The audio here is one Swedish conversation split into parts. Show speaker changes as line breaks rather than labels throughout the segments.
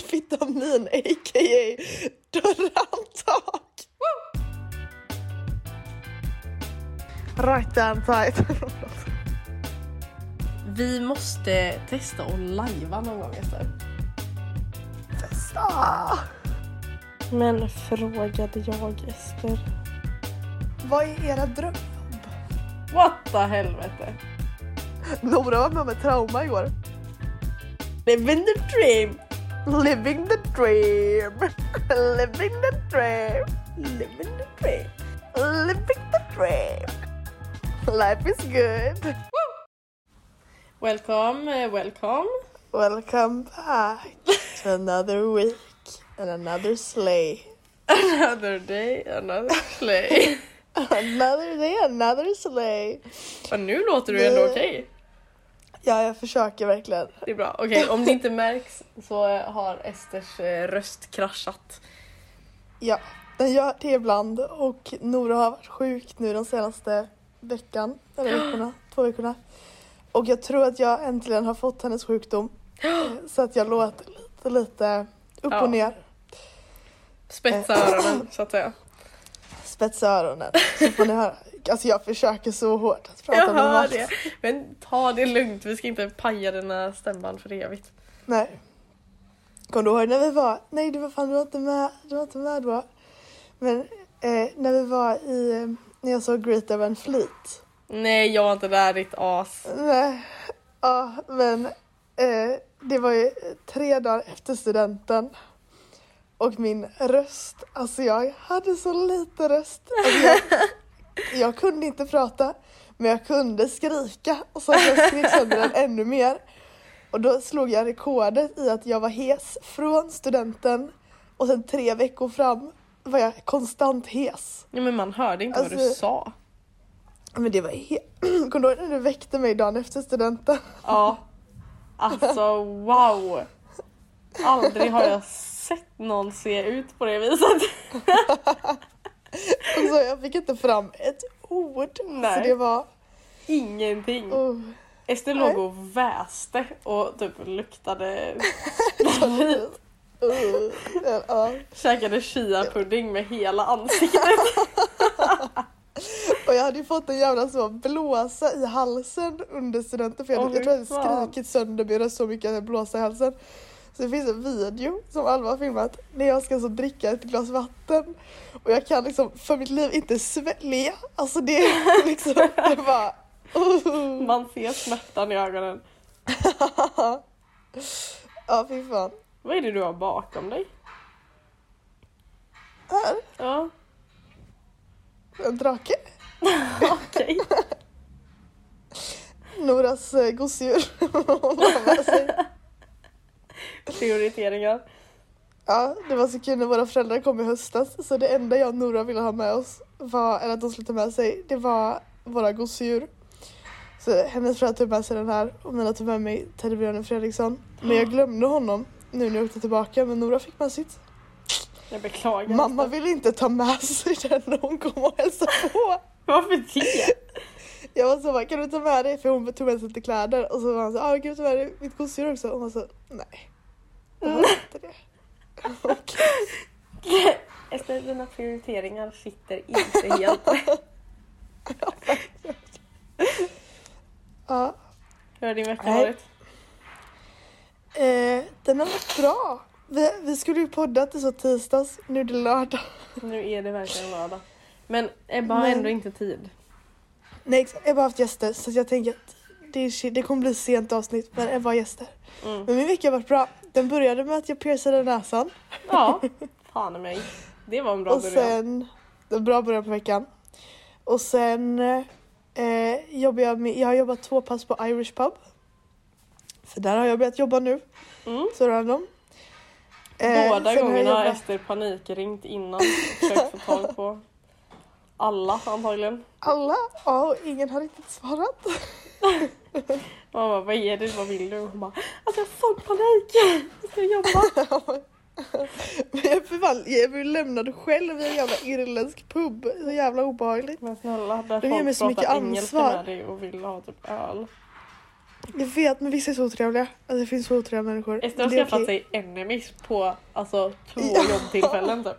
kanin a.k.a. dörrhandtag. Right damn tight.
Vi måste testa och lajva någon gång efter.
Testa!
Men frågade jag Jesper.
Vad är era dröm?
What the helvete?
Nora var med om ett trauma igår.
Living the dream!
Living the dream. Living the dream.
Living the dream!
Living the dream. Life is good.
Welcome, eh, welcome.
Welcome back to another week and another slay.
Another day, another play.
Another day, another slay.
Och nu låter du ändå okej.
Ja, jag försöker verkligen.
Det är bra. Okej, om det inte märks så har Esters eh, röst kraschat.
Ja, den gör det ibland och Nora har varit sjuk nu den senaste veckan, eller veckorna, två veckorna. Och jag tror att jag äntligen har fått hennes sjukdom. eh, Så att jag låter lite, lite upp
Ja.
och ner.
Spetsa öronen så att säga.
Spetsa öronen så får ni höra. Alltså jag försöker så hårt att prata
Jag
med
hör
Mats.
det. Men ta det lugnt, vi ska inte paja dina stämband för evigt.
Nej. Kommer du ihåg när vi var, nej du var fan du var inte med, du var inte med då. Men eh, när vi var i, eh, när jag såg Great Evan Fleet.
Nej, jag är inte där ditt as.
Nej, ja men eh, det var ju tre dagar efter studenten. Och min röst, alltså jag hade så lite röst. Alltså, jag, jag kunde inte prata men jag kunde skrika och så att jag skrek sönder den ännu mer. Och då slog jag rekordet i att jag var hes från studenten och sen tre veckor fram var jag konstant hes.
Nej, men man hörde inte vad du
Alltså-
sa.
Men det var helt... Kommer du ihåg när du väckte mig dagen efter studenten?
Ja. Alltså wow. Aldrig har jag sett någon se ut på det viset.
Alltså, jag fick inte fram ett ord.
Nej.
Så det var...
Ingenting.
Oh,
Ester
Nej.
låg och väste och typ luktade sprit.
uh, ja.
Käkade chia-pudding med hela ansiktet.
Och jag hade ju fått en jävla så blåsa i halsen under studenten. För jag,
Åh,
jag tror jag
fy fan.
hade skrikit sönder min röst så mycket att jag blåsa i halsen. Så det finns en video som Alva har filmat när jag ska så dricka ett glas vatten och jag kan liksom för mitt liv inte svälja. Alltså det är liksom, det är bara... Uh.
Man ser smärtan i ögonen.
ja, fy fan.
Vad är det du har bakom dig?
Här,
Ja,
en drake.
okej.
Noras eh, gosedjur. Hon har med sig.
Prioriteringar.
ja, det var så kul när våra föräldrar kom i höstas så det enda jag och Nora ville ha med oss, var, eller att de skulle ta med sig, det var våra gosedjur. Så hennes föräldrar tog med sig den här och mina tog med mig Teddybjörnen Fredriksson. Men jag glömde honom nu när jag åkte tillbaka men Nora fick med sitt.
Jag beklagar.
Mamma
Ester.
ville inte ta med sig den när hon kom och hälsade på.
Varför det?
Jag var så bara, kan du ta med dig? För hon tog med sig lite kläder och så var han så, ah, kan du ta med dig mitt gosedjur också? Och hon så, nej. Jag har inte det. Okej.
Ester, dina prioriteringar sitter inte helt.
Ja.
Hur har din vecka
Nej.
varit?
Eh, den har varit bra. Vi, vi skulle ju podda till så tisdags, nu är det lördag.
Nu är det verkligen lördag. Men Ebba har
Men-
ändå inte tid.
Nej, exakt. Ebba har haft gäster så att jag tänker att det, är, shit. det kommer bli sent avsnitt men Ebba har gäster.
Mm.
Men min vecka har varit bra. Den började med att jag piercade näsan
Ja, fan i mig. Det var en bra
och
början.
sen, det var en bra början på veckan. Och sen eh, jobbar jag med, jag har jobbat två pass på Irish Pub. För där har jag börjat jobba nu,
Mm.
så random. eh, sen har
Båda
jag
gångerna har
jobbat-
Ester panikringt innan och försökt få tag på alla antagligen.
Alla? Ja, och ingen har riktigt svarat.
Man bara, vad är det? Vad vill du? Och Hon bara, alltså jag har sån panik! Jag ska jobba.
Men jag, förvand, jag blev lämnad själv i en jävla irländsk pub. Så jävla obehagligt.
Men snälla, där
De ger mig
folk
så mycket
pratar engelska
ansvar.
med dig och vill ha typ öl.
Jag vet men vissa är så otrevliga. Alltså det finns så otrevliga människor.
Esther har
Det är
skaffat
okej.
sig enemies på alltså två
Ja.
jobbtillfällen typ.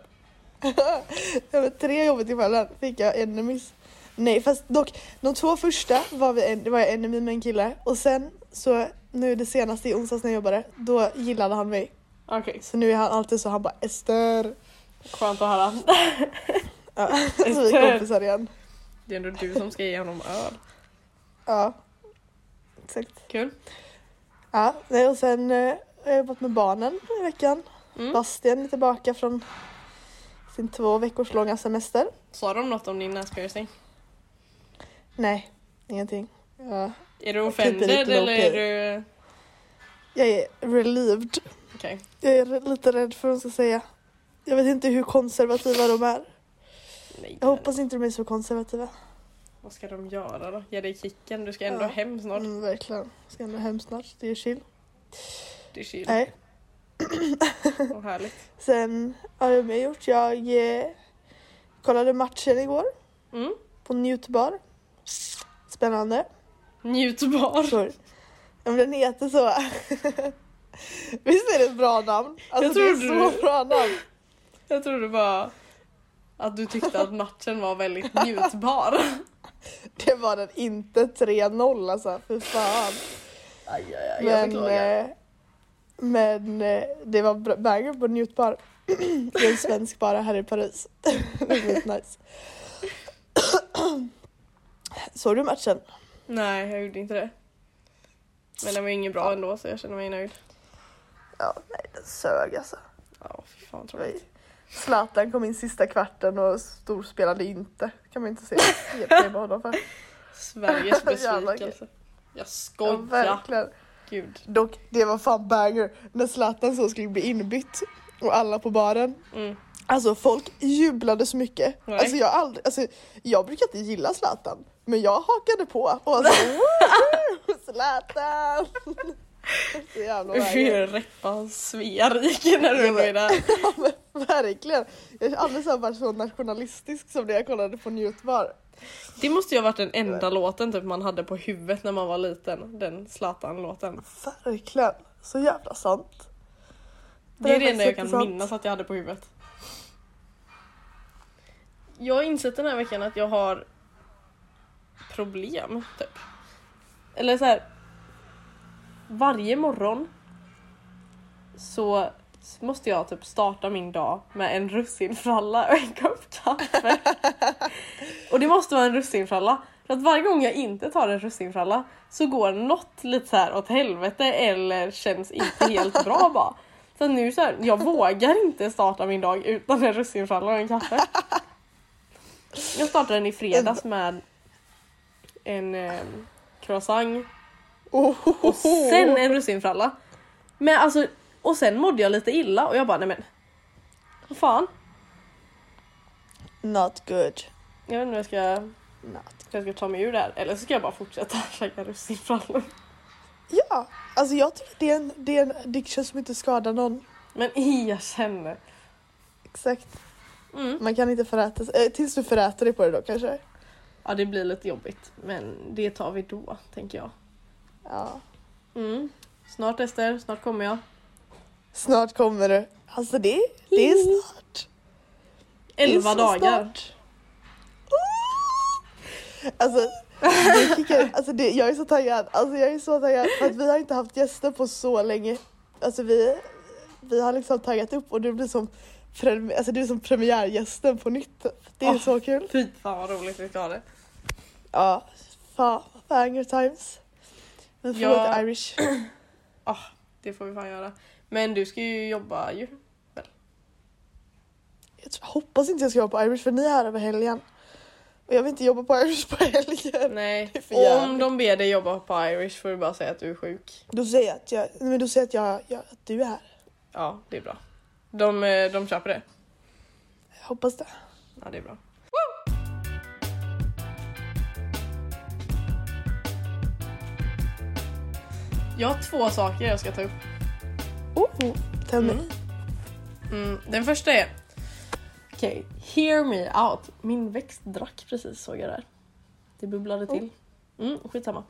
Över tre jobbtillfällen fick jag enemies. Nej fast dock, de två första var, vi en, var jag enemy med en kille och sen så nu det senaste i onsdags när jag jobbade, då gillade han mig.
Okej,
Så nu är han alltid så, han bara Ester.
skönt att höra.
Ja, så vi är kompisar igen.
Det är ändå du som ska ge honom öl.
Ja. Exakt.
Kul.
Ja, nej, och sen eh, har jag jobbat med barnen i veckan.
Mm.
Bastian är tillbaka från sin två veckors långa semester.
Sa de något om din näspiercing?
Nej, ingenting. Ja.
Är du
Jag klipper
offended
Typ lite
eller är
low-key.
du...
Jag är relieved.
Okej.
Jag är lite rädd för vad de ska säga. Jag vet inte hur konservativa de är.
Nej,
Jag hoppas inte de är så konservativa.
Vad ska de göra då? Ge dig kicken, du ska ändå
Ja.
hem snart.
Mm, verkligen. Ska ändå hem snart. Det är chill.
Det är chill.
Nej.
Vad härligt.
Sen har jag mer gjort. Jag eh, kollade matchen igår
Mm.
på Njutbar. Spännande.
Njutbar.
Sorry. Ja, men den heter så. Visst är det ett bra namn? Alltså,
Jag
det är
trodde
så
du-
bra namn.
Jag trodde bara att du tyckte att matchen var väldigt njutbar.
Det var den inte 3-0 alltså. För fan.
Aj, aj, aj, jag
Men,
beklagar.
eh, men eh, det var bra- banger på njutbar. Det är en svensk bar här i Paris. det var nice. Såg du matchen?
Nej, jag gjorde inte det. Men den var ju ingen bra ändå så jag känner mig nöjd.
Ja, nej den sög alltså.
Ja, fy fan
Det var ju-
tråkigt.
Zlatan kom in sista kvarten och storspelade inte. Det kan man inte se. Helt fel på honom för.
Sveriges
Jävla grej.
besvikelse. Jag
Ja,
skojar.
verkligen.
Gud.
Dock, det var fan banger när Zlatan så skulle bli inbytt och alla på baren.
Mm.
Alltså folk jublade så mycket.
Nej.
Alltså jag, har aldrig, alltså jag brukar inte gilla Zlatan, men jag hakade på och var så "Woohoo, Zlatan! så jävla vacker.
Hur reppa Sverige när du
Ja,
ändå
men-
är där.
Ja, men Verkligen! Jag har aldrig så här varit så nationalistisk som när jag kollade på Njutbar.
Det måste ju ha varit den enda låten typ, man hade på huvudet när man var liten. Den Zlatan-låten.
Verkligen, så jävla sant.
Det är
Det
det
är
enda jag kan
faktiskt sant.
minnas att jag hade på huvudet. Jag har insett den här veckan att jag har problem, typ. Eller så här. Varje morgon så måste jag typ starta min dag med en russinfralla och en kopp kaffe. och det måste vara en russinfralla. För att varje gång jag inte tar en russinfralla så går något lite så här åt helvete eller känns inte helt bra bara. Så nu så här, jag vågar inte starta min dag utan en russinfralla och en kaffe. Jag startade den i fredags med en eh, croissant
Ohohoho.
och sen en russinfralla. Men alltså, och sen mådde jag lite illa och jag bara nej men. Vad fan?
Not good.
Jag vet inte om jag ska,
Not.
hur jag ska ta mig ur det här. Eller så ska jag bara fortsätta käka russinfrallor.
Ja, alltså jag tycker det är en, det är en addiction som inte skadar någon.
Men erkänn.
Exakt.
Mm.
Man kan inte föräta sig. Eh, tills du föräter dig på det då kanske.
Ja det blir lite jobbigt men det tar vi då tänker jag.
Ja.
Mm. Snart Ester, snart kommer jag.
Snart kommer du. Alltså det, det är snart. Det är
11
så
Mm. dagar.
Snart. Åh! Alltså, det kickar, alltså det, jag är så taggad. Alltså jag är så taggad för att vi har inte haft gäster på så länge. Alltså vi, vi har liksom taggat upp och du blir som, prem, alltså du är som premiärgästen på nytt. Det är
Ah.
så kul.
Fy fan vad roligt vi ska ha det.
Ja, fan. Banger times. Men förlåt
Ja.
Irish.
Ah, Det får vi fan göra. Men du ska ju jobba ju.
Jag tror- hoppas inte jag ska jobba på Irish för ni är här över helgen. Och jag vill inte jobba på Irish på helgen.
Nej.
Det är för
Om
jävligt.
de ber dig jobba på Irish får du bara säga att du är sjuk.
Då säger jag att, jag, nej, men då säger jag att, jag, jag, att du är här.
Ja, det är bra. De, eh, de köper det.
Jag hoppas det.
Ja, det är bra. Jag har två saker jag ska ta upp.
Oh, tell me.
Mm. Mm, den första är... Okej, hear me out. Min växt drack
Oh.
precis såg jag där. Det bubblade till. Mm, skitsamma.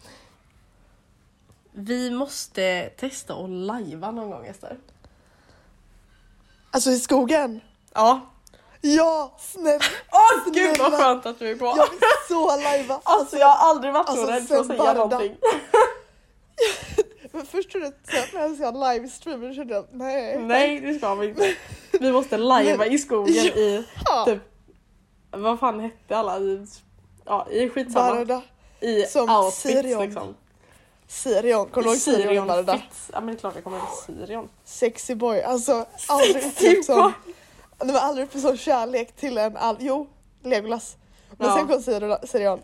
Vi måste testa och lajva någon gång Ester.
Alltså i skogen.
Ja.
Ja, snälla.
Åh gud vad
Snälla.
skönt att du är på!
Jag vill så lajva.
Alltså jag har aldrig varit
Alltså,
så rädd för att
sen
säga
bara-
någonting.
Men först trodde jag att jag ska livestreama och kände jag, nej.
Nej det ska vi inte. Vi måste lajva i skogen
Ja.
i,
Ja,
typ- vad fan hette alla? I, ja i skitsamma.
Varda.
I
som
outfits
Sirion.
liksom.
Sirion, kommer du ihåg Sirion Varda?
Fitz. Ja men det är klart jag kommer ihåg Sirion.
Sexy boy, alltså aldrig upplevt som, nej, men aldrig upplevt som kärlek till en alv. Jo, Legolas. Men
Ja.
sen kom Sirion- Sirion.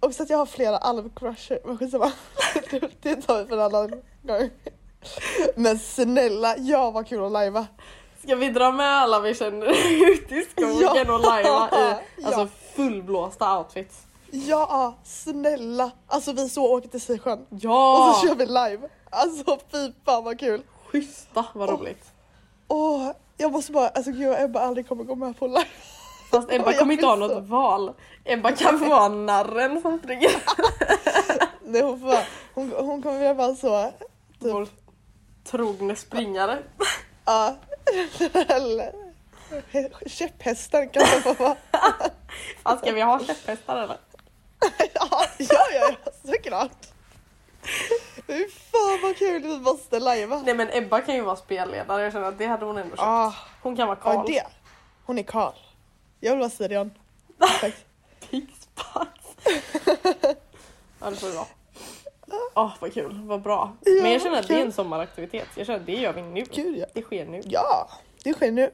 Och så att jag har flera alvcrusher, men skitsamma. Det- Det tar vi för en annan gång. Men snälla, ja vad kul att lajva.
Ska vi dra med alla vi känner ut i skogen
Ja.
och lajva i
Ja.
alltså, fullblåsta outfits?
Ja, snälla. Alltså vi så åker till Sisjön.
Ja!
Och så kör vi live. Alltså fy fan vad kul.
Schyssta, vad
Och-
roligt.
Åh, jag måste bara, alltså gud jag Ebba aldrig kommer gå med på live.
Fast Ebba
jag
kommer inte ha
vill
något
så.
val. Ebba kan få vara narren som springer.
Typ. Nej, hon, får, vara- hon, hon kommer göra bara så, Typ.
Vår trogne springare.
ja. Eller käpphästen kan jag få vara.
Fan, ska vi ha käpphästar eller?
Ja, ja, ja, ja, såklart. Fy fan vad kul, vi måste lajva.
Nej men Ebba kan ju vara spelledare. Jag känner att det hade hon ändå köpt.
Ah,
Hon kan vara
ja,
Karl.
det. Hon är Karl. Jag vill vara Sirion. Perfekt.
Pixpax. ja det får det vara. Åh vad kul, vad bra.
Ja,
men jag känner att det är en
kul.
sommaraktivitet. Jag känner att det gör vi nu.
Gud ja.
Det sker nu.
Ja, det sker nu.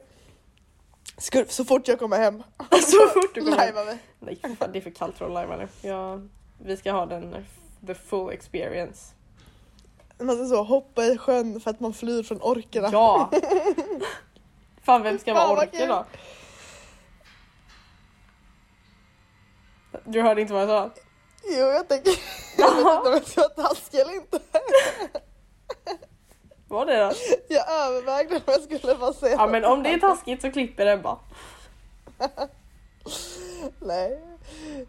Skurf, så fort jag kommer hem.
Så fort du kommer hem.
Lajvar vi.
Nej för fan, det är för kallt för att lajva nu. Ja, vi ska ha den, the full experience.
Man ska så hoppa i sjön för att man flyr från orkerna.
Ja! Fan vem ska
Fan,
vara
vad
orke då? Du hörde inte vad jag sa?
Jo, jag tänker... Jag vet inte om jag ska vara taskig eller inte.
Var det då?
Jag övervägde om jag skulle bara säga
Ja men om det är taskigt så klipper den bara.
Nej.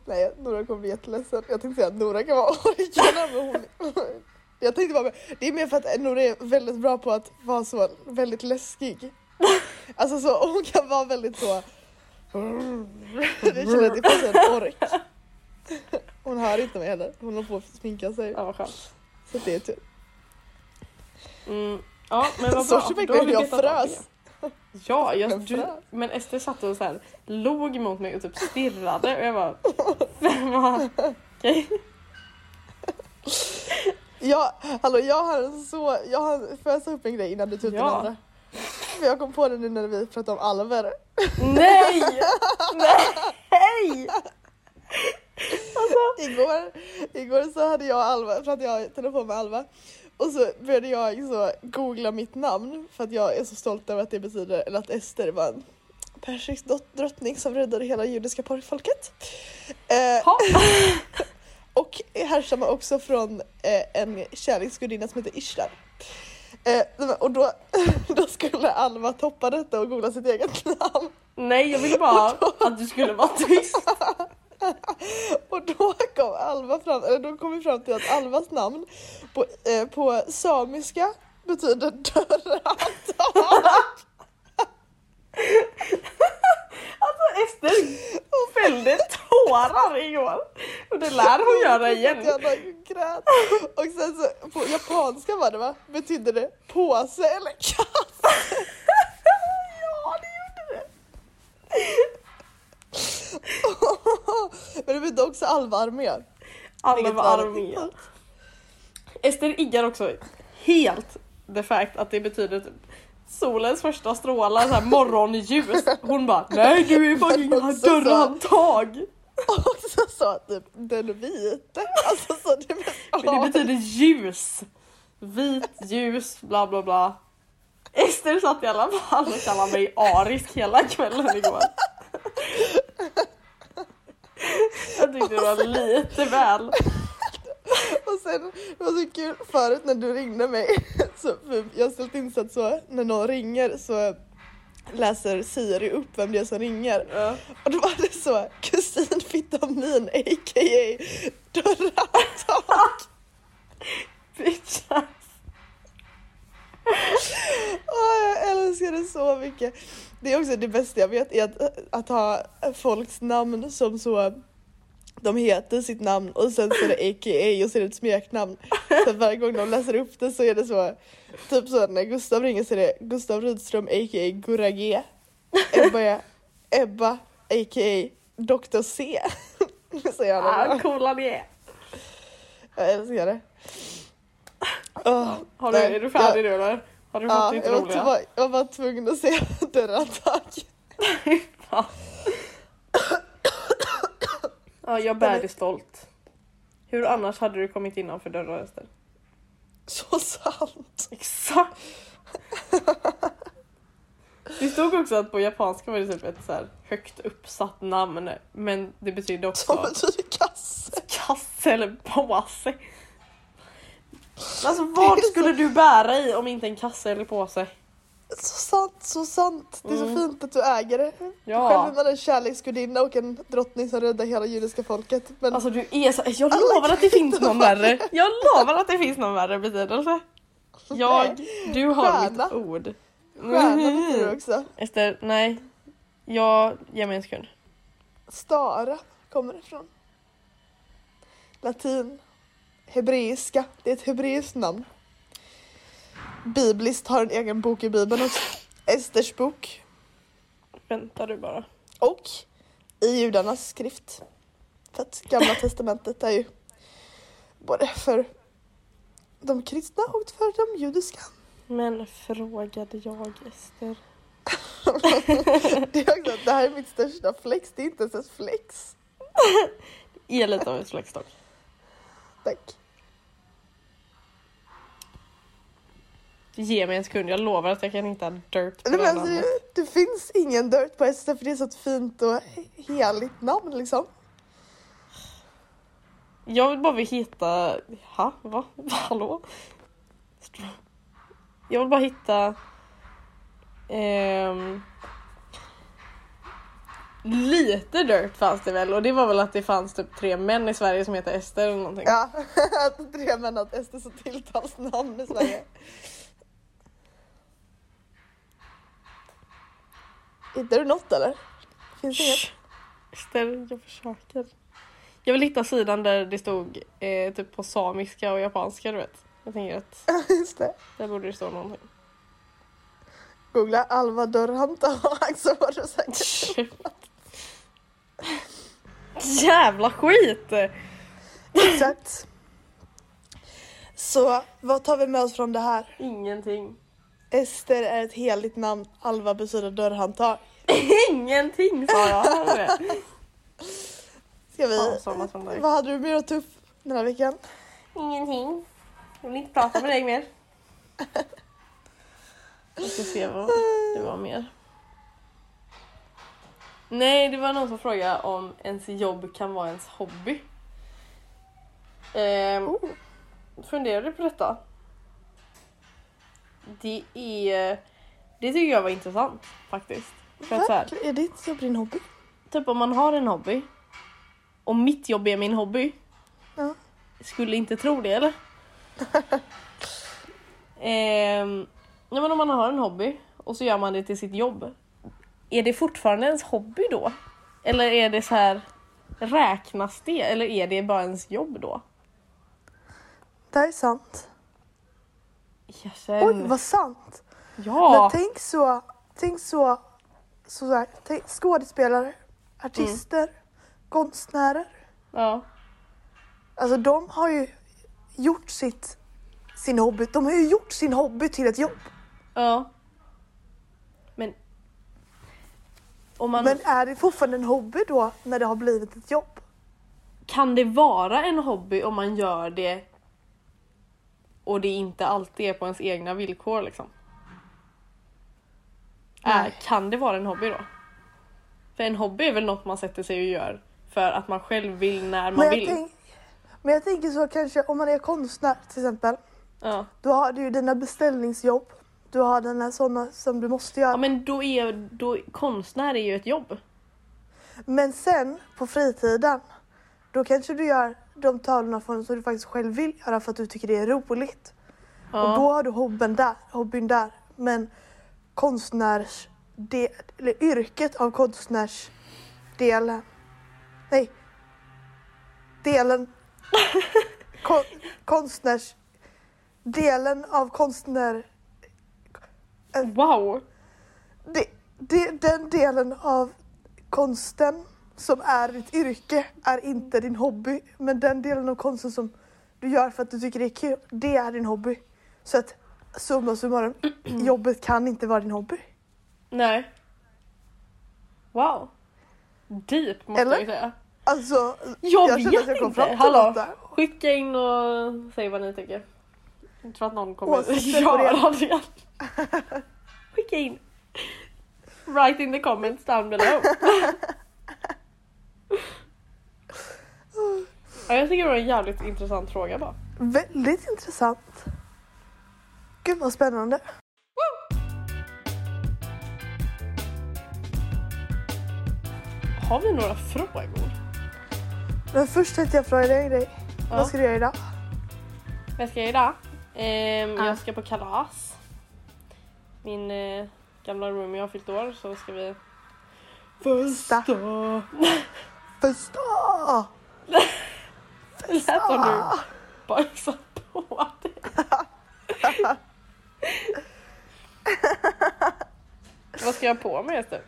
Nej, Nora kommer bli jätteledsen. Jag tänkte säga att Nora kan vara orkarna, men hon... Jag tänkte bara, det är mer för att Nora är väldigt bra på att vara så väldigt läskig. Alltså så, hon kan vara väldigt så... Det känner att det finns en ork. Hon hör inte mig heller, hon håller på att sminka sig.
Ja vad skönt.
Så det är typ- tur.
Mm, ja men vad bra.
Sorts
Då har
vecka
vi
jag
betat av det.
frös.
Ja, jag,
Jag
du,
frös.
men Ester satt och så här, log mot mig och typ stirrade och jag bara... Vem var... Okej.
Ja, hallå jag har en så, jag har, får jag ta upp en grej innan du tar upp
Ja.
den andra? För jag kom på det nu när vi pratade om alver.
Nej! Nej! Alltså,
Igår, igår så hade jag och Alva, pratade jag i telefon med Alva och så började jag så googla mitt namn för att jag är så stolt över att det betyder, eller att Ester var en persisk dot- drottning som räddade hela judiska folket. Eh,
Ha.
Och härstammar också från eh, en kärleksgudinna som heter Ishtar. Eh, nej, men- och då, då skulle Alva toppa detta och googla sitt eget namn.
Nej, jag ville bara att du skulle vara tyst.
Och då kom, Alva fram, eller då kom vi fram till att Alvas namn på, eh, på samiska betyder dörrhandtag.
Alltså Ester fällde tårar igår. Och det lär hon göra igen.
Jag bara grät. Och sen så, på japanska var det va? Betyder det påse eller kasse?
Ja, det gjorde det.
Men det betyder också Alva armé.
Alla
Vilket
var
var-
armé. Ester iggar också helt the fact att det betyder typ solens första strålar, så här morgonljus. Hon bara nej du är fucking
Men också
dörrhandtag.
Och så sa typ den vita. Alltså så det,
Men det betyder ljus. Vit, ljus, bla bla bla. Ester satt i alla fall och kallade mig arisk hela kvällen igår. Jag tyckte det var lite väl.
Och sen, det var så kul förut när du ringde mig. Så, för jag har ställt in så att så, när någon ringer så läser Siri upp vem det är som ringer.
Ja.
Och då var det så, kusin Vitamin a.k.a. Dörrhandtag.
bitches.
Åh, jag älskar det så mycket. Det är också det bästa jag vet är att, att ha folks namn som så de heter sitt namn och sen så är det aka och så är det ett smeknamn. Så att varje gång de läser upp det så är det så, typ så att när Gustav ringer så är det Gustav Rydström aka Gurragé. Ebba, är- Ebba aka Dr C. Så jävla
Ah,
bra.
coola ni är.
Jag älskar det. Åh,
Har du,
nej,
är du
jag-
färdig nu eller? Har du fått
Ja,
ditt
jag var,
roliga?
två, jag var tvungen att säga dörrattack.
Ja, jag bär det stolt. Hur annars hade du kommit innanför dörrar Ester?
Så sant.
Exakt! Det stod också att på japanska var det typ ett så här högt uppsatt namn men det betyder
Som
också
en dyr kasse.
kasse eller påse. Alltså vad skulle du bära i om inte en kasse eller påse?
Så sant, så sant. Det är så
Mm.
fint att du äger det. Själv är
Ja,
man en kärleksgudinna och en drottning som räddar hela judiska folket. Men
alltså du är så... Jag
Alla
lovar att det
kan
finns
inte
någon
vara
värre. Jag lovar att det finns någon värre betydelse. Jag, du har mitt
Stjärna.
ord. Mm.
stjärna heter du också.
Ester, nej. Jag, ge mig en sekund.
Stara kommer det ifrån. Latin. Hebreiska. Det är ett hebreiskt namn. Bibliskt har en egen bok i Bibeln också. Esters bok.
Vänta du bara.
Och i judarnas skrift. För att gamla testamentet är ju både för de kristna och för de judiska.
Men frågade jag Ester.
Det, är också, det här är mitt största flex, det är inte ens ett flex.
Är lite av en flaggstock.
Tack.
Ge mig en sekund, jag lovar att jag kan hitta dirt på
Nej,
det
men alltså, det,
namnet.
det finns ingen dirt på Esther för det är så ett fint och heligt namn liksom.
Jag vill bara vill hitta... Ha? Va? Hallå? Jag vill bara hitta... ehm, Lite dirt fanns det väl och det var väl att det fanns typ tre män i Sverige som heter Ester eller någonting.
Ja, att tre män har ett Esther som tilltalsnamn i Sverige. Hittar du något eller? Finns inget?
Shh. Ester, jag försöker. Jag vill hitta sidan där det stod eh, typ på samiska och japanska, du vet. Jag tänker att
Just det.
där borde det stå någonting.
Googla Alva Dörrhanta så var du säker.
Jävla skit!
Exakt. Så vad tar vi med oss från det här?
Ingenting.
Ester är ett heligt namn. Alva betyder dörrhandtag.
Ingenting sa jag! hörde du det?
Ska vi...
Fan, samma som dig.
Vad hade du mer att ta upp den här veckan?
Ingenting. Jag vill inte prata med dig mer. Jag ska se vad det var mer. Nej, det var någon som frågade om ens jobb kan vara ens hobby. Ehm, funderar du på detta? Det är... Det tycker jag var intressant faktiskt. För att så här,
Verkligen, Är ditt jobb din hobby?
typ om man har en hobby och mitt jobb är min hobby.
Ja.
Skulle inte tro det eller? ehm, nej men om man har en hobby och så gör man det till sitt jobb. Är det fortfarande ens hobby då? Eller är det så här räknas det eller är det bara ens jobb då?
Det här är sant.
Jag
Oj,
känner...
vad sant! Men
Ehm. ja!
tänk så... Tänk så... så här, tänk, skådespelare, artister, konstnärer.
ja!
Alltså de har ju gjort sitt, sin hobby. De har ju gjort sin hobby till ett jobb.
Ja. Men... Om man...
Men är det fortfarande en hobby då när det har blivit ett jobb?
kan det vara en hobby om man gör det och det inte alltid är på ens egna villkor liksom? Äh,
Nej.
kan det vara en hobby då? För en hobby är väl något man sätter sig och gör för att man själv vill när man
Men jag,
vill.
tänk, men jag tänker så kanske om man är konstnär till exempel.
Ja.
Då har du ju dina beställningsjobb. Du har dina sådana som du måste göra.
ja
men...
men då är då, konstnär är ju ett jobb.
sen på fritiden. Då kanske du gör de tavlorna från som du faktiskt själv vill göra för att du tycker det är roligt.
Ja.
Och då har du hobbyn där, hobbyn där. Men konstnärs... Det, eller yrket av konstnärsdelen. Nej. Delen. Kon, konstnärs... Delen av konstnär...
Wow!
Det, det, den delen av konsten som är ditt yrke är inte din hobby. Men den delen av konsten som du gör för att du tycker det är kul, det är din hobby. Så att summa summarum, jobbet kan inte vara din hobby.
Nej. Wow. Deep måste
Eller?
jag säga.
Alltså,
Jag,
jag känner
vet
att jag kom
inte.
fram till
Hallå,
något där.
skicka in och säg vad ni tycker. Jag tror att någon kommer
Åsikter på
göra det. skicka in. Write in the comments down below. ja, jag tycker det var en jävligt intressant fråga bara.
väldigt intressant. Gud vad spännande.
Har vi några frågor?
Men först tänkte jag fråga dig en grej.
Ja.
Vad ska du göra idag?
Vad ska jag göra? Ehm,
Ja.
Jag ska på kalas. Min eh, gamla roomie har fyllt år så ska vi...
Festa. Festa!
Det lät som du
Ah!
bajsade på dig. Vad ska jag ha på mig Ester?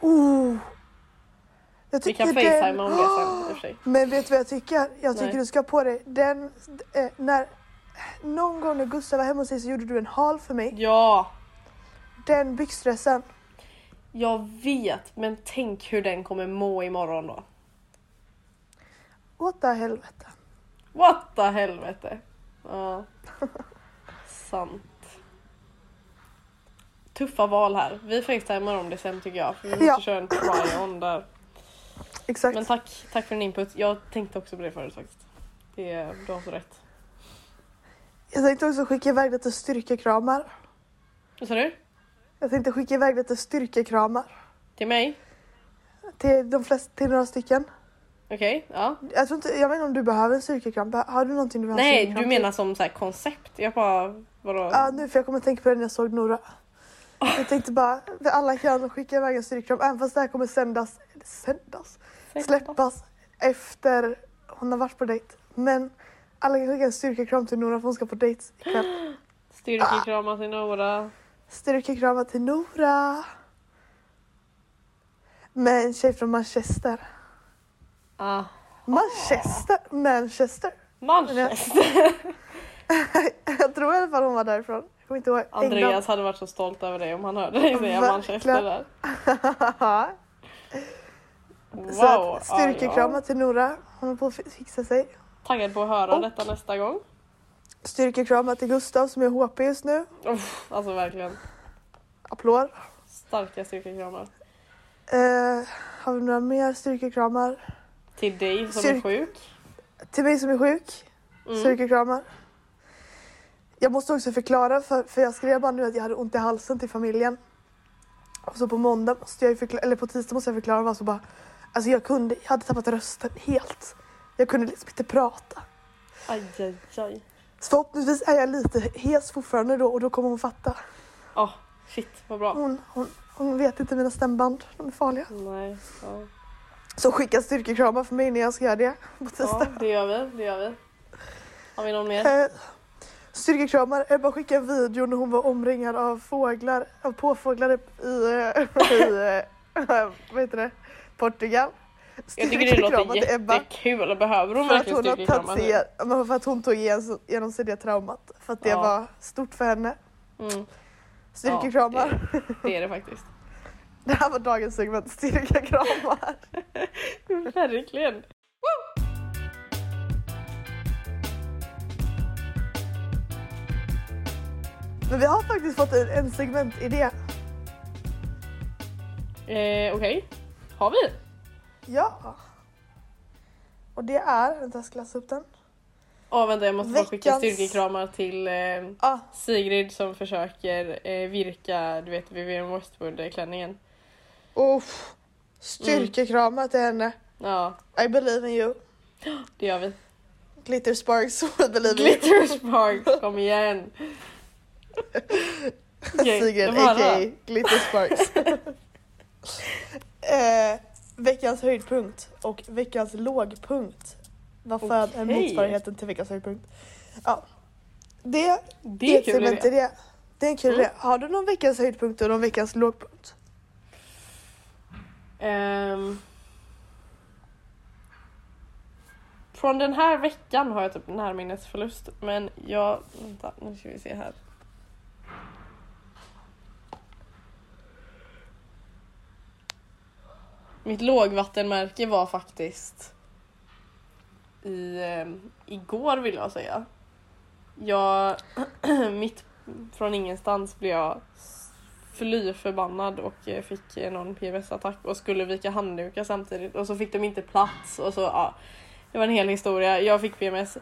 Oh. Jag
Vi kan
tycker den-
facetima om det sen i och för sig.
Men vet du vad jag tycker? Jag tycker
Nej.
du ska ha på dig den... Eh, när, någon gång när Gustav var hemma hos dig så gjorde du en hal för mig.
Ja,
Den byxdressen.
jag vet men tänk hur den kommer må imorgon då.
Åt det här helvete.
What the helvete. Ja. Sant. Tuffa val här. Vi facetimar om det sen tycker jag. För vi måste
Ja.
köra en try-on där.
Exakt.
Men tack, tack för din input. Jag tänkte också på det förut faktiskt. Det, är- du har så rätt.
Jag tänkte också skicka iväg lite styrkekramar.
Vad sa du?
Jag tänkte skicka iväg lite styrkekramar.
Till mig?
Till, de flesta, till några stycken.
Okej, ja.
Jag, tror inte, jag vet inte om du behöver en styrkekram. Beh- Har du någonting du behöver en
Nej,
styrkekram
du
till?
menar som så här koncept. Jag bara, vadå?
Ja, nu för jag kommer att tänka på det när jag såg Nora.
Ah.
Jag tänkte bara, för alla kan skicka iväg en styrkekram även fast det här kommer sändas, sändas,
Säg bara.
släppas efter hon har varit på dejt. Men alla kan skicka en styrkekram till Nora för hon ska på dejt ikväll.
Styrkekramar till några.
Styrkekramar till Nora. Med en tjej från Manchester.
Ah.
Manchester? Manchester?
Manchester!
jag tror i alla fall hon var därifrån. Jag kommer inte ihåg.
Andreas hade varit så stolt över dig om han hörde dig säga
Verkligen.
Manchester där.
England.
Wow!
Så att
ja,
styrkekramar
ja.
till Nora. Hon håller på att fi- fixa sig.
Taggad på att höra
Och-
detta nästa gång.
Styrkekramar till Gustav som är HP just nu.
Uff, alltså verkligen.
Applåd.
Starka styrkekramar.
Eh, har vi några mer styrkekramar?
Till dig som är
Styrk-
sjuk.
Till mig som är sjuk.
Mm.
Styrkekramar. Jag måste också förklara för, för jag skrev bara nu att jag hade ont i halsen till familjen. Och så på måndag måste jag ju förklara, eller på tisdag måste jag förklara vad som bara. Alltså jag kunde, jag hade tappat rösten helt. Jag kunde liksom inte prata.
Aj, aj, aj.
Så förhoppningsvis är jag lite hes fortfarande då och då kommer hon fatta.
Oh, shit, vad bra.
Hon, hon, hon vet inte mina stämband, de är farliga.
Nej, ja.
Så skicka styrkekramar för mig när jag ska göra det på
ja,
tisdag.
det gör vi. Det gör vi. Har vi någon mer?
Eh, styrkekramar, Ebba skickade en video när hon var omringad av fåglar, av påfåglar i, eh, i eh, vad heter det, Portugal.
Jag tycker det låter
till Ebba
jättekul. Behöver hon
för att
verkligen
hon, har tagit
styrkekramar?
sig,
nu?
igen- ja, men för att hon tog igen- igenom sig det traumat. För att det
Ja.
var stort för henne.
Mm,
Styrkekramar.
det är det faktiskt.
det här var dagens segment, styrkekramar.
Verkligen.
Men vi har faktiskt fått en, en segmentidé.
Eh, Okej, har vi?
Ja. Och det är, vänta jag ska läsa upp den.
Åh vänta, jag måste bara skicka
Veckans-
styrkekramar till eh,
Ah,
Sigrid som försöker eh, virka, du vet Vivienne Westwood-klänningen.
uff. Styrkekramar till henne.
Ja,
I believe in you.
det gör vi.
Glitter sparks, we believe in you.
Glitter Sparks, kom igen. Okej,
Sigrid
det var
aka
alla.
Glitter sparks. eh, veckans höjdpunkt och veckans lågpunkt. Vad fan är
Okej.
motsvarigheten till veckans höjdpunkt? Ja. Det
Det är
ett
kul
segment i
idé.
det. Det är en kul
Mm.
idé. Har du någon veckans höjdpunkt och någon veckans lågpunkt?
Ehm. Från den här veckan har jag typ närminnesförlust men jag... Vänta, nu ska vi se här. Mitt lågvattenmärke var faktiskt i, ehm, igår vill jag säga. Jag, mitt från ingenstans blev jag fly förbannad och eh, fick eh, någon PMS-attack och skulle vika handdukar samtidigt och så fick de inte plats och så ja. Det var en hel historia. Jag fick PMS.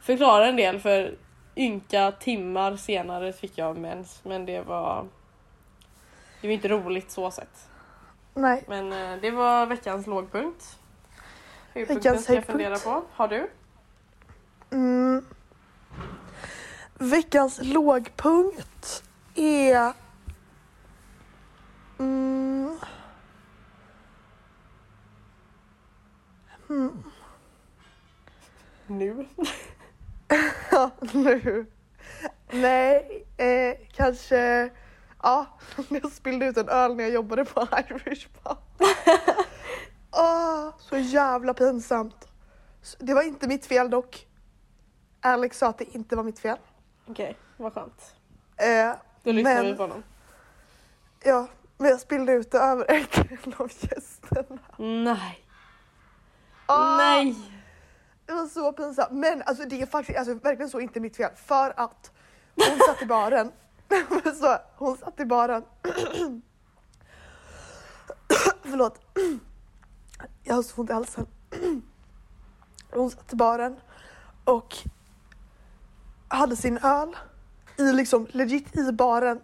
Förklara en del för ynka timmar senare fick jag mens men det var det var inte roligt så sett.
Nej.
Men eh, det var veckans lågpunkt. Höjdpunkten
Veckans
ska jag
höjdpunkt.
fundera på. Har du?
Mm. Veckans lågpunkt är... Mm. Mm.
Nu?
Ja, nu. Nej, eh, kanske... Ja, jag spillde ut en öl när jag jobbade på Irish pub. Åh, så jävla pinsamt. Så- Det var inte mitt fel dock. Alex sa att det inte var mitt fel.
Okej, vad skönt.
Eh,
Då lyssnar
Men-
vi på honom.
ja, men jag spillde ut det över en av gästerna. Ah!
Nej.
Åh,
Nej.
Det var så pinsamt. Men alltså det är faktiskt alltså, verkligen så inte mitt fel. För att hon satt i baren. så, hon satt i baren. Förlåt. Jag har så ont i halsen. hon satt i baren och hade sin öl i liksom legit i baren.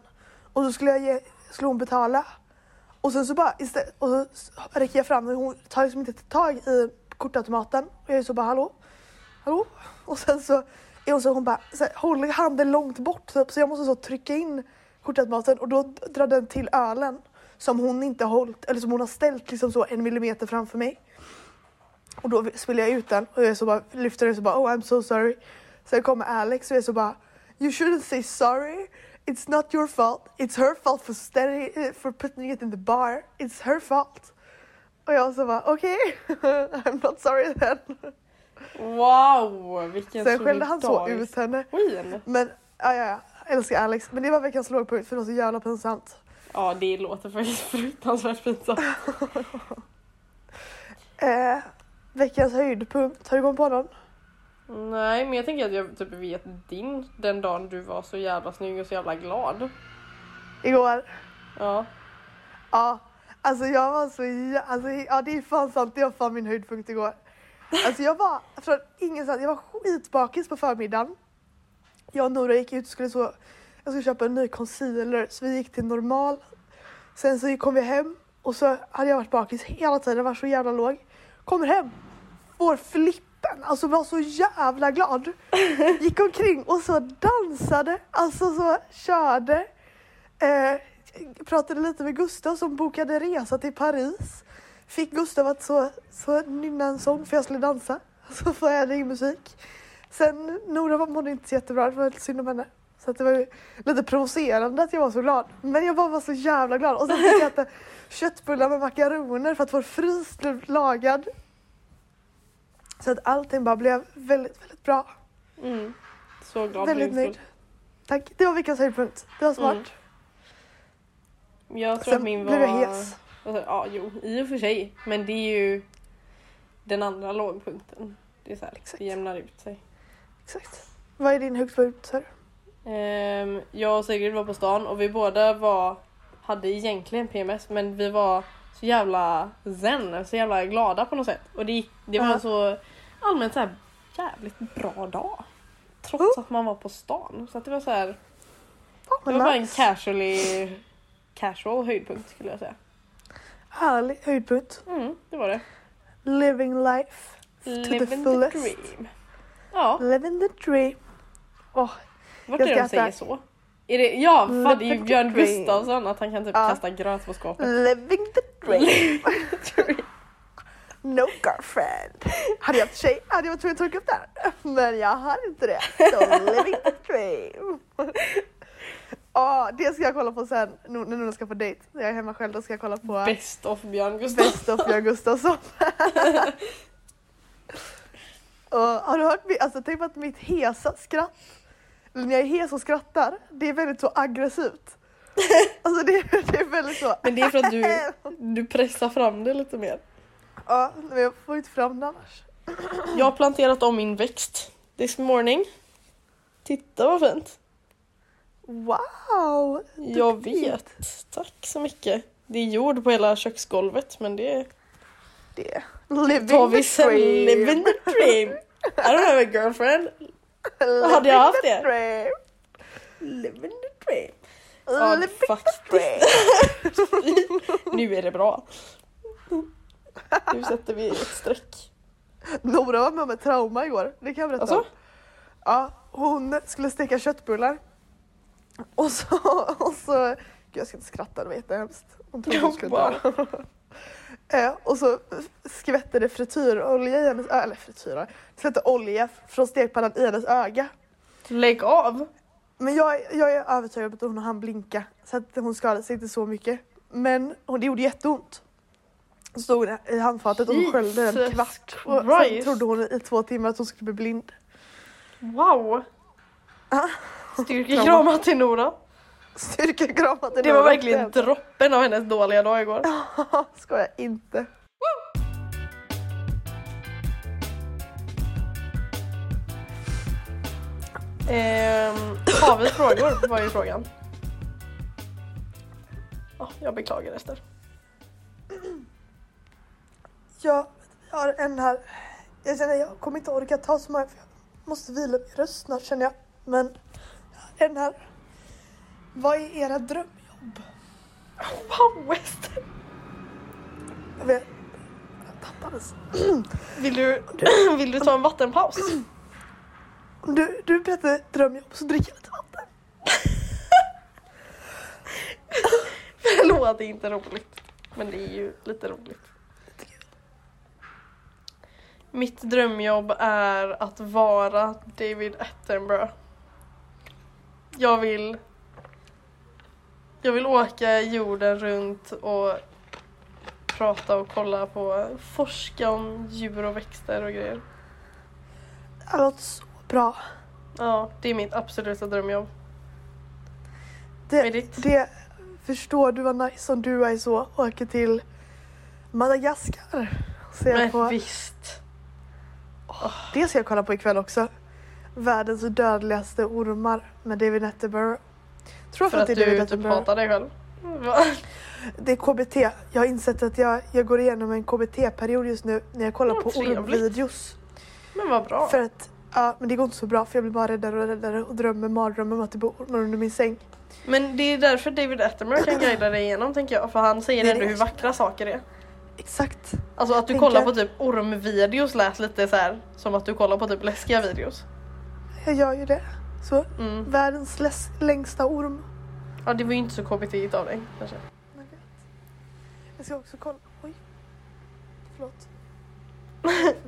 Och så skulle, jag ge, skulle hon betala. Och sen så bara istället, och så s- räcker jag fram men hon tar liksom inte tag i kortautomaten. Och jag är så bara hallå? Hallå? Och sen så är hon så hon bara så här, håller handen långt bort typ, så jag måste så trycka in kortautomaten och då drar den till ölen som hon inte har hållit eller som hon har ställt liksom så en millimeter framför mig. Och då spiller jag ut den och jag är så bara lyfter den och så bara oh I'm so sorry. Sen kommer Alex och jag är så bara you shouldn't say sorry. It's not your fault. It's her fault for, steady, eh, for putting it in the bar. It's her fault. Och jag så bara okej, I'm not sorry then.
Wow, vilken
Sen skällde han så ut henne.
Queen.
Men ja, ja, ja. Jag älskar Alex. Men det var veckans lågpunkt för det var så jävla pinsamt.
Ja, det låter faktiskt fruktansvärt pinsamt.
Eh, veckans höjdpunkt. Har du kommit på någon?
Nej, men jag tänker att jag typ vet din den dagen du var så jävla snygg och så jävla glad.
Igår?
Ja,
Ja. Alltså jag var så jä- alltså, ja det är fan sant. Det var fan min höjdpunkt igår. Alltså jag var från ingenstans. Jag var skitbakis på förmiddagen. Jag och Nora gick ut och skulle så. Jag skulle köpa en ny concealer så vi gick till normal. Sen så kom vi hem och så hade jag varit bakis hela tiden. Var så jävla låg. Kommer hem. Får flippen. Alltså var så jävla glad. Gick omkring och så dansade. Alltså så körde. Eh, pratade lite med Gustav som bokade resa till Paris. Fick Gustav att så, så nynna en sång för jag skulle dansa. Så får jag ingen musik. Sen Nora var- mådde inte så jättebra, det var lite synd om henne. Så att det var ju lite provocerande att jag var så glad. Men jag bara var så jävla glad. Och sen fick jag äta köttbullar med makaroner för att vår frys blev lagad. Så att allting bara blev väldigt, väldigt bra.
mm. så glad
Väldigt
och
nöjd. Tack. Det var veckans höjdpunkt. Det var smart.
Mm. Jag tror att
Sen
min var...
blev jag hes.
Alltså, ja, jo, i och för sig. Men det är ju den andra lågpunkten. Det är så här,
Exakt.
det jämnar ut sig.
Exakt. Vad är din högsta punkt? sa du?
Ehm, jag och Sigrid var på stan och vi båda var, hade egentligen PMS men vi var så jävla zen, så jävla glada på något sätt. Och det, gick, det var
Ja.
en så allmänt så här jävligt bra dag. Trots
Oh.
att man var på stan. Så att det var så här,
Fan,
det
vad
var bara en
nice.
casually, casual höjdpunkt skulle jag säga.
Härlig höjdpunkt.
Mm, det var det.
Living life. to the
Living the
fullest.
dream. Ja,
Living the dream. Åh,
vart
Jag
är det
ska
de säger
äta-
så? Är det, ja, fan det är ju
Living the
Björn
dream.
Gustafsson att han kan typ
Ja.
kasta gröt på skåpet.
living the dream.
Living the dream.
No girlfriend. Hade jag haft tjej hade jag varit tvungen att torka upp det här. Men jag hade inte det. So living the dream. Ja, det ska jag kolla på sen nu nu när jag ska på dejt. När jag är hemma själv då ska jag kolla på
Best of Björn Gustafsson.
Best of Björn Gustafsson. Och har du hört mitt, alltså tänk på att mitt hesa skratt, eller när jag är hes och skrattar, det är väldigt så aggressivt. Alltså det, det är väldigt så, Äh,
Men det är för att du, du pressar fram det lite mer.
ja men jag får inte fram det annars.
Jag har planterat om min växt this morning. Titta vad fint.
Wow!
Jag vet. Tack så mycket. Det är jord på hela köksgolvet men det
Det. Living
tar vi
the
sen.
dream.
Living the dream. I don't have a girlfriend.
Living
Hade jag haft
the
det?
Dream.
Living the dream. Ja,
Living the
faktiskt.
dream.
Nu är det bra. Nu sätter vi ett streck.
Nora var med om ett trauma igår, det kan jag berätta om.
Alltså?
Ja, hon skulle steka köttbullar. Och så, och så gud, jag ska inte skratta, det var jättehemskt. Hon trodde hon skulle dö. Eh, och så skvätte det frityrolja i hennes öga, eller frityr, det skvätte olja från stekpannan i hennes öga.
Lägg av. Men
Men jag, jag är övertygad om att hon hann blinka så att hon skadade sig inte så mycket. Men hon, det gjorde jätteont. Så stod hon i handfatet och hon sköljde en
Jesus
kvart. Och sen
Christ.
trodde hon i två timmar att hon skulle bli blind.
Wow.
Ah.
Styrkekramar till Nora.
Styrkekramat i
Det var
den
verkligen
rocken.
droppen av hennes dåliga dag igår.
Skojar inte.
Ehm, har vi frågor? Vad är frågan? Ja, jag beklagar Ester.
Jag har en här. Jag känner jag kommer inte orka ta så många för jag måste vila min röst snart känner jag. Men jag har en här. Vad är era drömjobb?
Wow Ester!
Jag vet. alltså. Jag tappades.
Vill du, vill du ta en vattenpaus?
Om du, du berättar drömjobb så dricker jag lite vatten.
Förlåt, det är inte roligt. Men det är ju lite roligt. Mitt drömjobb är att vara David Attenborough. Jag vill... Jag vill åka jorden runt och prata och kolla på, forska om djur och växter och grejer.
Det här låter så bra.
Ja, det är mitt absoluta drömjobb. Vad är
Det,
ditt?
det förstår du vad nice om du är så åker till Madagaskar. Ser
Men
på.
visst.
Det ska jag kolla på ikväll också. Världens dödligaste ormar med David Attenborough. Tror jag
För att
det är David
du typ
Attenborough.
hatar dig själv.
Det är KBT. Jag har insett att jag, jag går igenom en KBT-period just nu när jag kollar
Ja,
på
trevligt.
ormvideos.
Men vad bra.
För att, ja men det går inte så bra för jag blir bara räddare och räddare och drömmer mardrömmar om att det bor ormar under min säng.
Men det är därför David Attenborough kan guida dig igenom tänker jag. För han säger
Det är
ändå
det.
hur vackra saker är.
Exakt.
Alltså att du
Tänker-
kollar på typ ormvideos lät lite så här som att du kollar på typ läskiga videos.
Jag gör ju det. Så
Mm.
världens läs- längsta orm.
Ja det var ju inte så KBT igt av dig kanske.
Jag ska också kolla. Oj. Förlåt.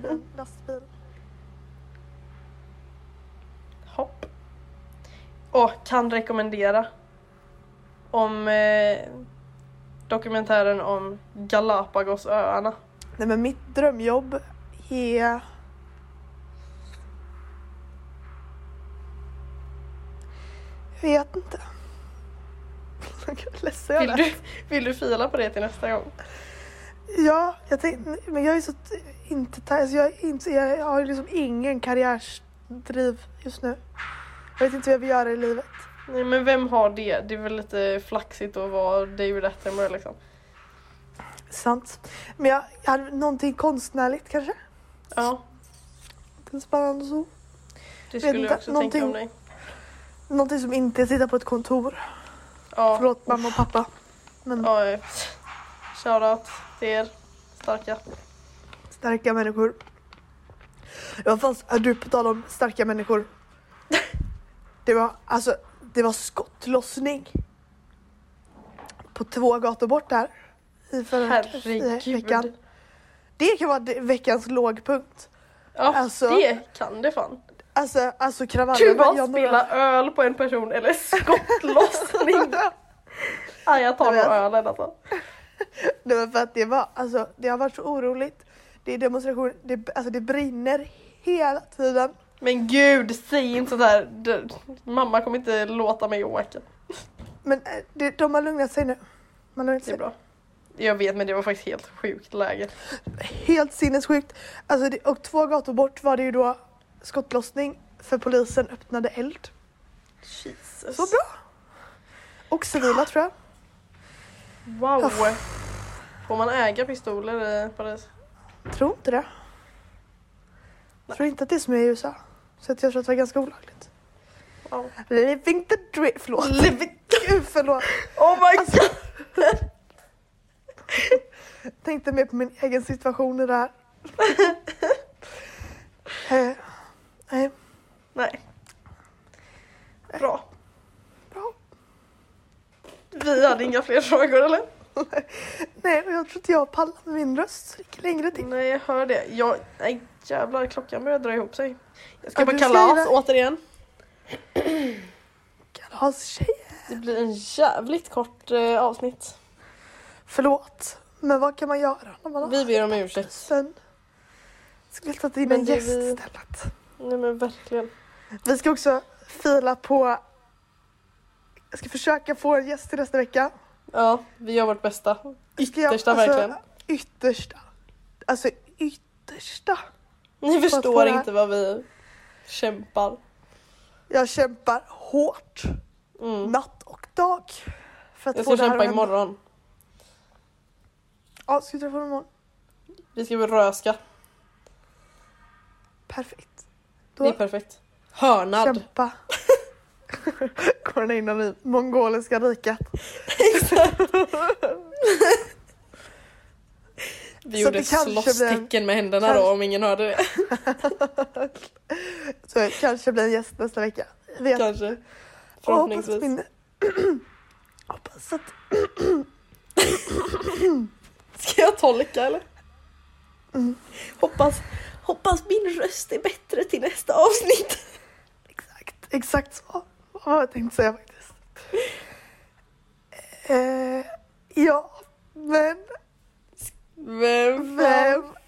En lastbil.
Hopp. Och kan rekommendera. Om eh, dokumentären om Galapagosöarna.
Nej men mitt drömjobb är... Jag vet inte. Gud, Ledsen jag
Vill du,
lät.
vill du fila på det till nästa gång?
Ja, jag tänkte, men jag är så t- inte ta- alltså jag, är inte, jag har ju liksom ingen karriärsdriv just nu. Jag vet inte vad jag vill göra i livet.
Nej men vem har det? Det är väl lite flaxigt att vara David Attenborough liksom.
Sant. Men jag, jag hade någonting konstnärligt kanske.
Ja
Lite Spännande så.
det
Vet
skulle
inte,
jag också tänka om
någonting-
dig.
Någonting som inte är att sitta på ett kontor.
Ja.
Förlåt mamma och pappa. Men
Ja, eh, shoutout till er starka.
Starka människor. Det var fanns, ja, du på tal om starka människor. Det var alltså, det var skottlossning. På två gator bort här. I förra
Herregud.
i veckan. Det kan vara det- veckans lågpunkt.
Ja,
Alltså-
det kan det fan.
Alltså, alltså kravallerna.
Kul att
jag-
spilla öl på en person eller skottlossning. ah, jag tar nog
Jag vet.
ölen alltså.
Nej men för att det var, alltså det har varit så oroligt. Det är demonstration, det, alltså det brinner hela tiden.
Men gud, säg inte sådär. Du, mamma kommer inte låta mig åka.
Men eh, det, de har lugnat sig nu. Man har lugnat
Det är
sig.
bra. Jag vet men det var faktiskt helt sjukt läge.
Helt sinnessjukt. Alltså det, och två gator bort var det ju då skottlossning för polisen öppnade eld.
Jesus.
Så bra! Och civila tror jag.
Wow. Får man äga pistoler i Paris?
Tror inte det. Tror inte att det är som i USA. Så att jag tror att det var ganska olagligt.
Wow.
Alltså, Living the dream, förlåt. Living... Gud förlåt.
Oh my
Alltså-
god!
Tänkte mer på min egen situation i det här. eh, nej,
Nej. Bra.
bra.
Vi hade inga fler frågor eller?
Nej, och jag tror inte jag pallar med min röst så det gick längre till.
Nej jag hör det. Jag, nej jävlar klockan börjar dra ihop sig. Jag ska
Ja,
på
du ska
kalas
iväg.
återigen.
Kalastjej.
Det blir en jävligt kort eh, avsnitt.
Förlåt, men vad kan man göra när man har
Vi ber om ursäkt.
sen? Skulle ta in
Men
en
det
gäst
vi-
istället.
Nej men verkligen.
Vi ska också fila på... Jag ska försöka få en gäst till nästa vecka.
Ja, vi gör vårt bästa.
Ska jag-
Yttersta
alltså,
verkligen.
Yttersta. Alltså yttersta.
Ni
att få
förstår
det här-
inte vad vi kämpar.
Jag kämpar hårt.
Mm.
natt och dag. För att
Jag
få
ska
det här
kämpa
att hända.
imorgon.
Ja, ska vi träffa honom imorgon?
Vi ska röska.
Perfekt.
Det är
Då
perfekt. Hörnad.
kämpa. Går den in i mongoliska riket.
Vi
Så
gjorde
det kanske
slåsstecken med händerna då
kanske-
om ingen hörde det.
Så det kanske blir en gäst nästa vecka. Jag Vet.
Kanske.
Och hoppas
Förhoppningsvis.
min- hoppas att
Ska jag tolka eller? Mm. Hoppas, hoppas min röst är bättre till nästa avsnitt.
Exakt, exakt så. Vad har jag tänkt säga faktiskt? Eh, ja, men
Vem,
vem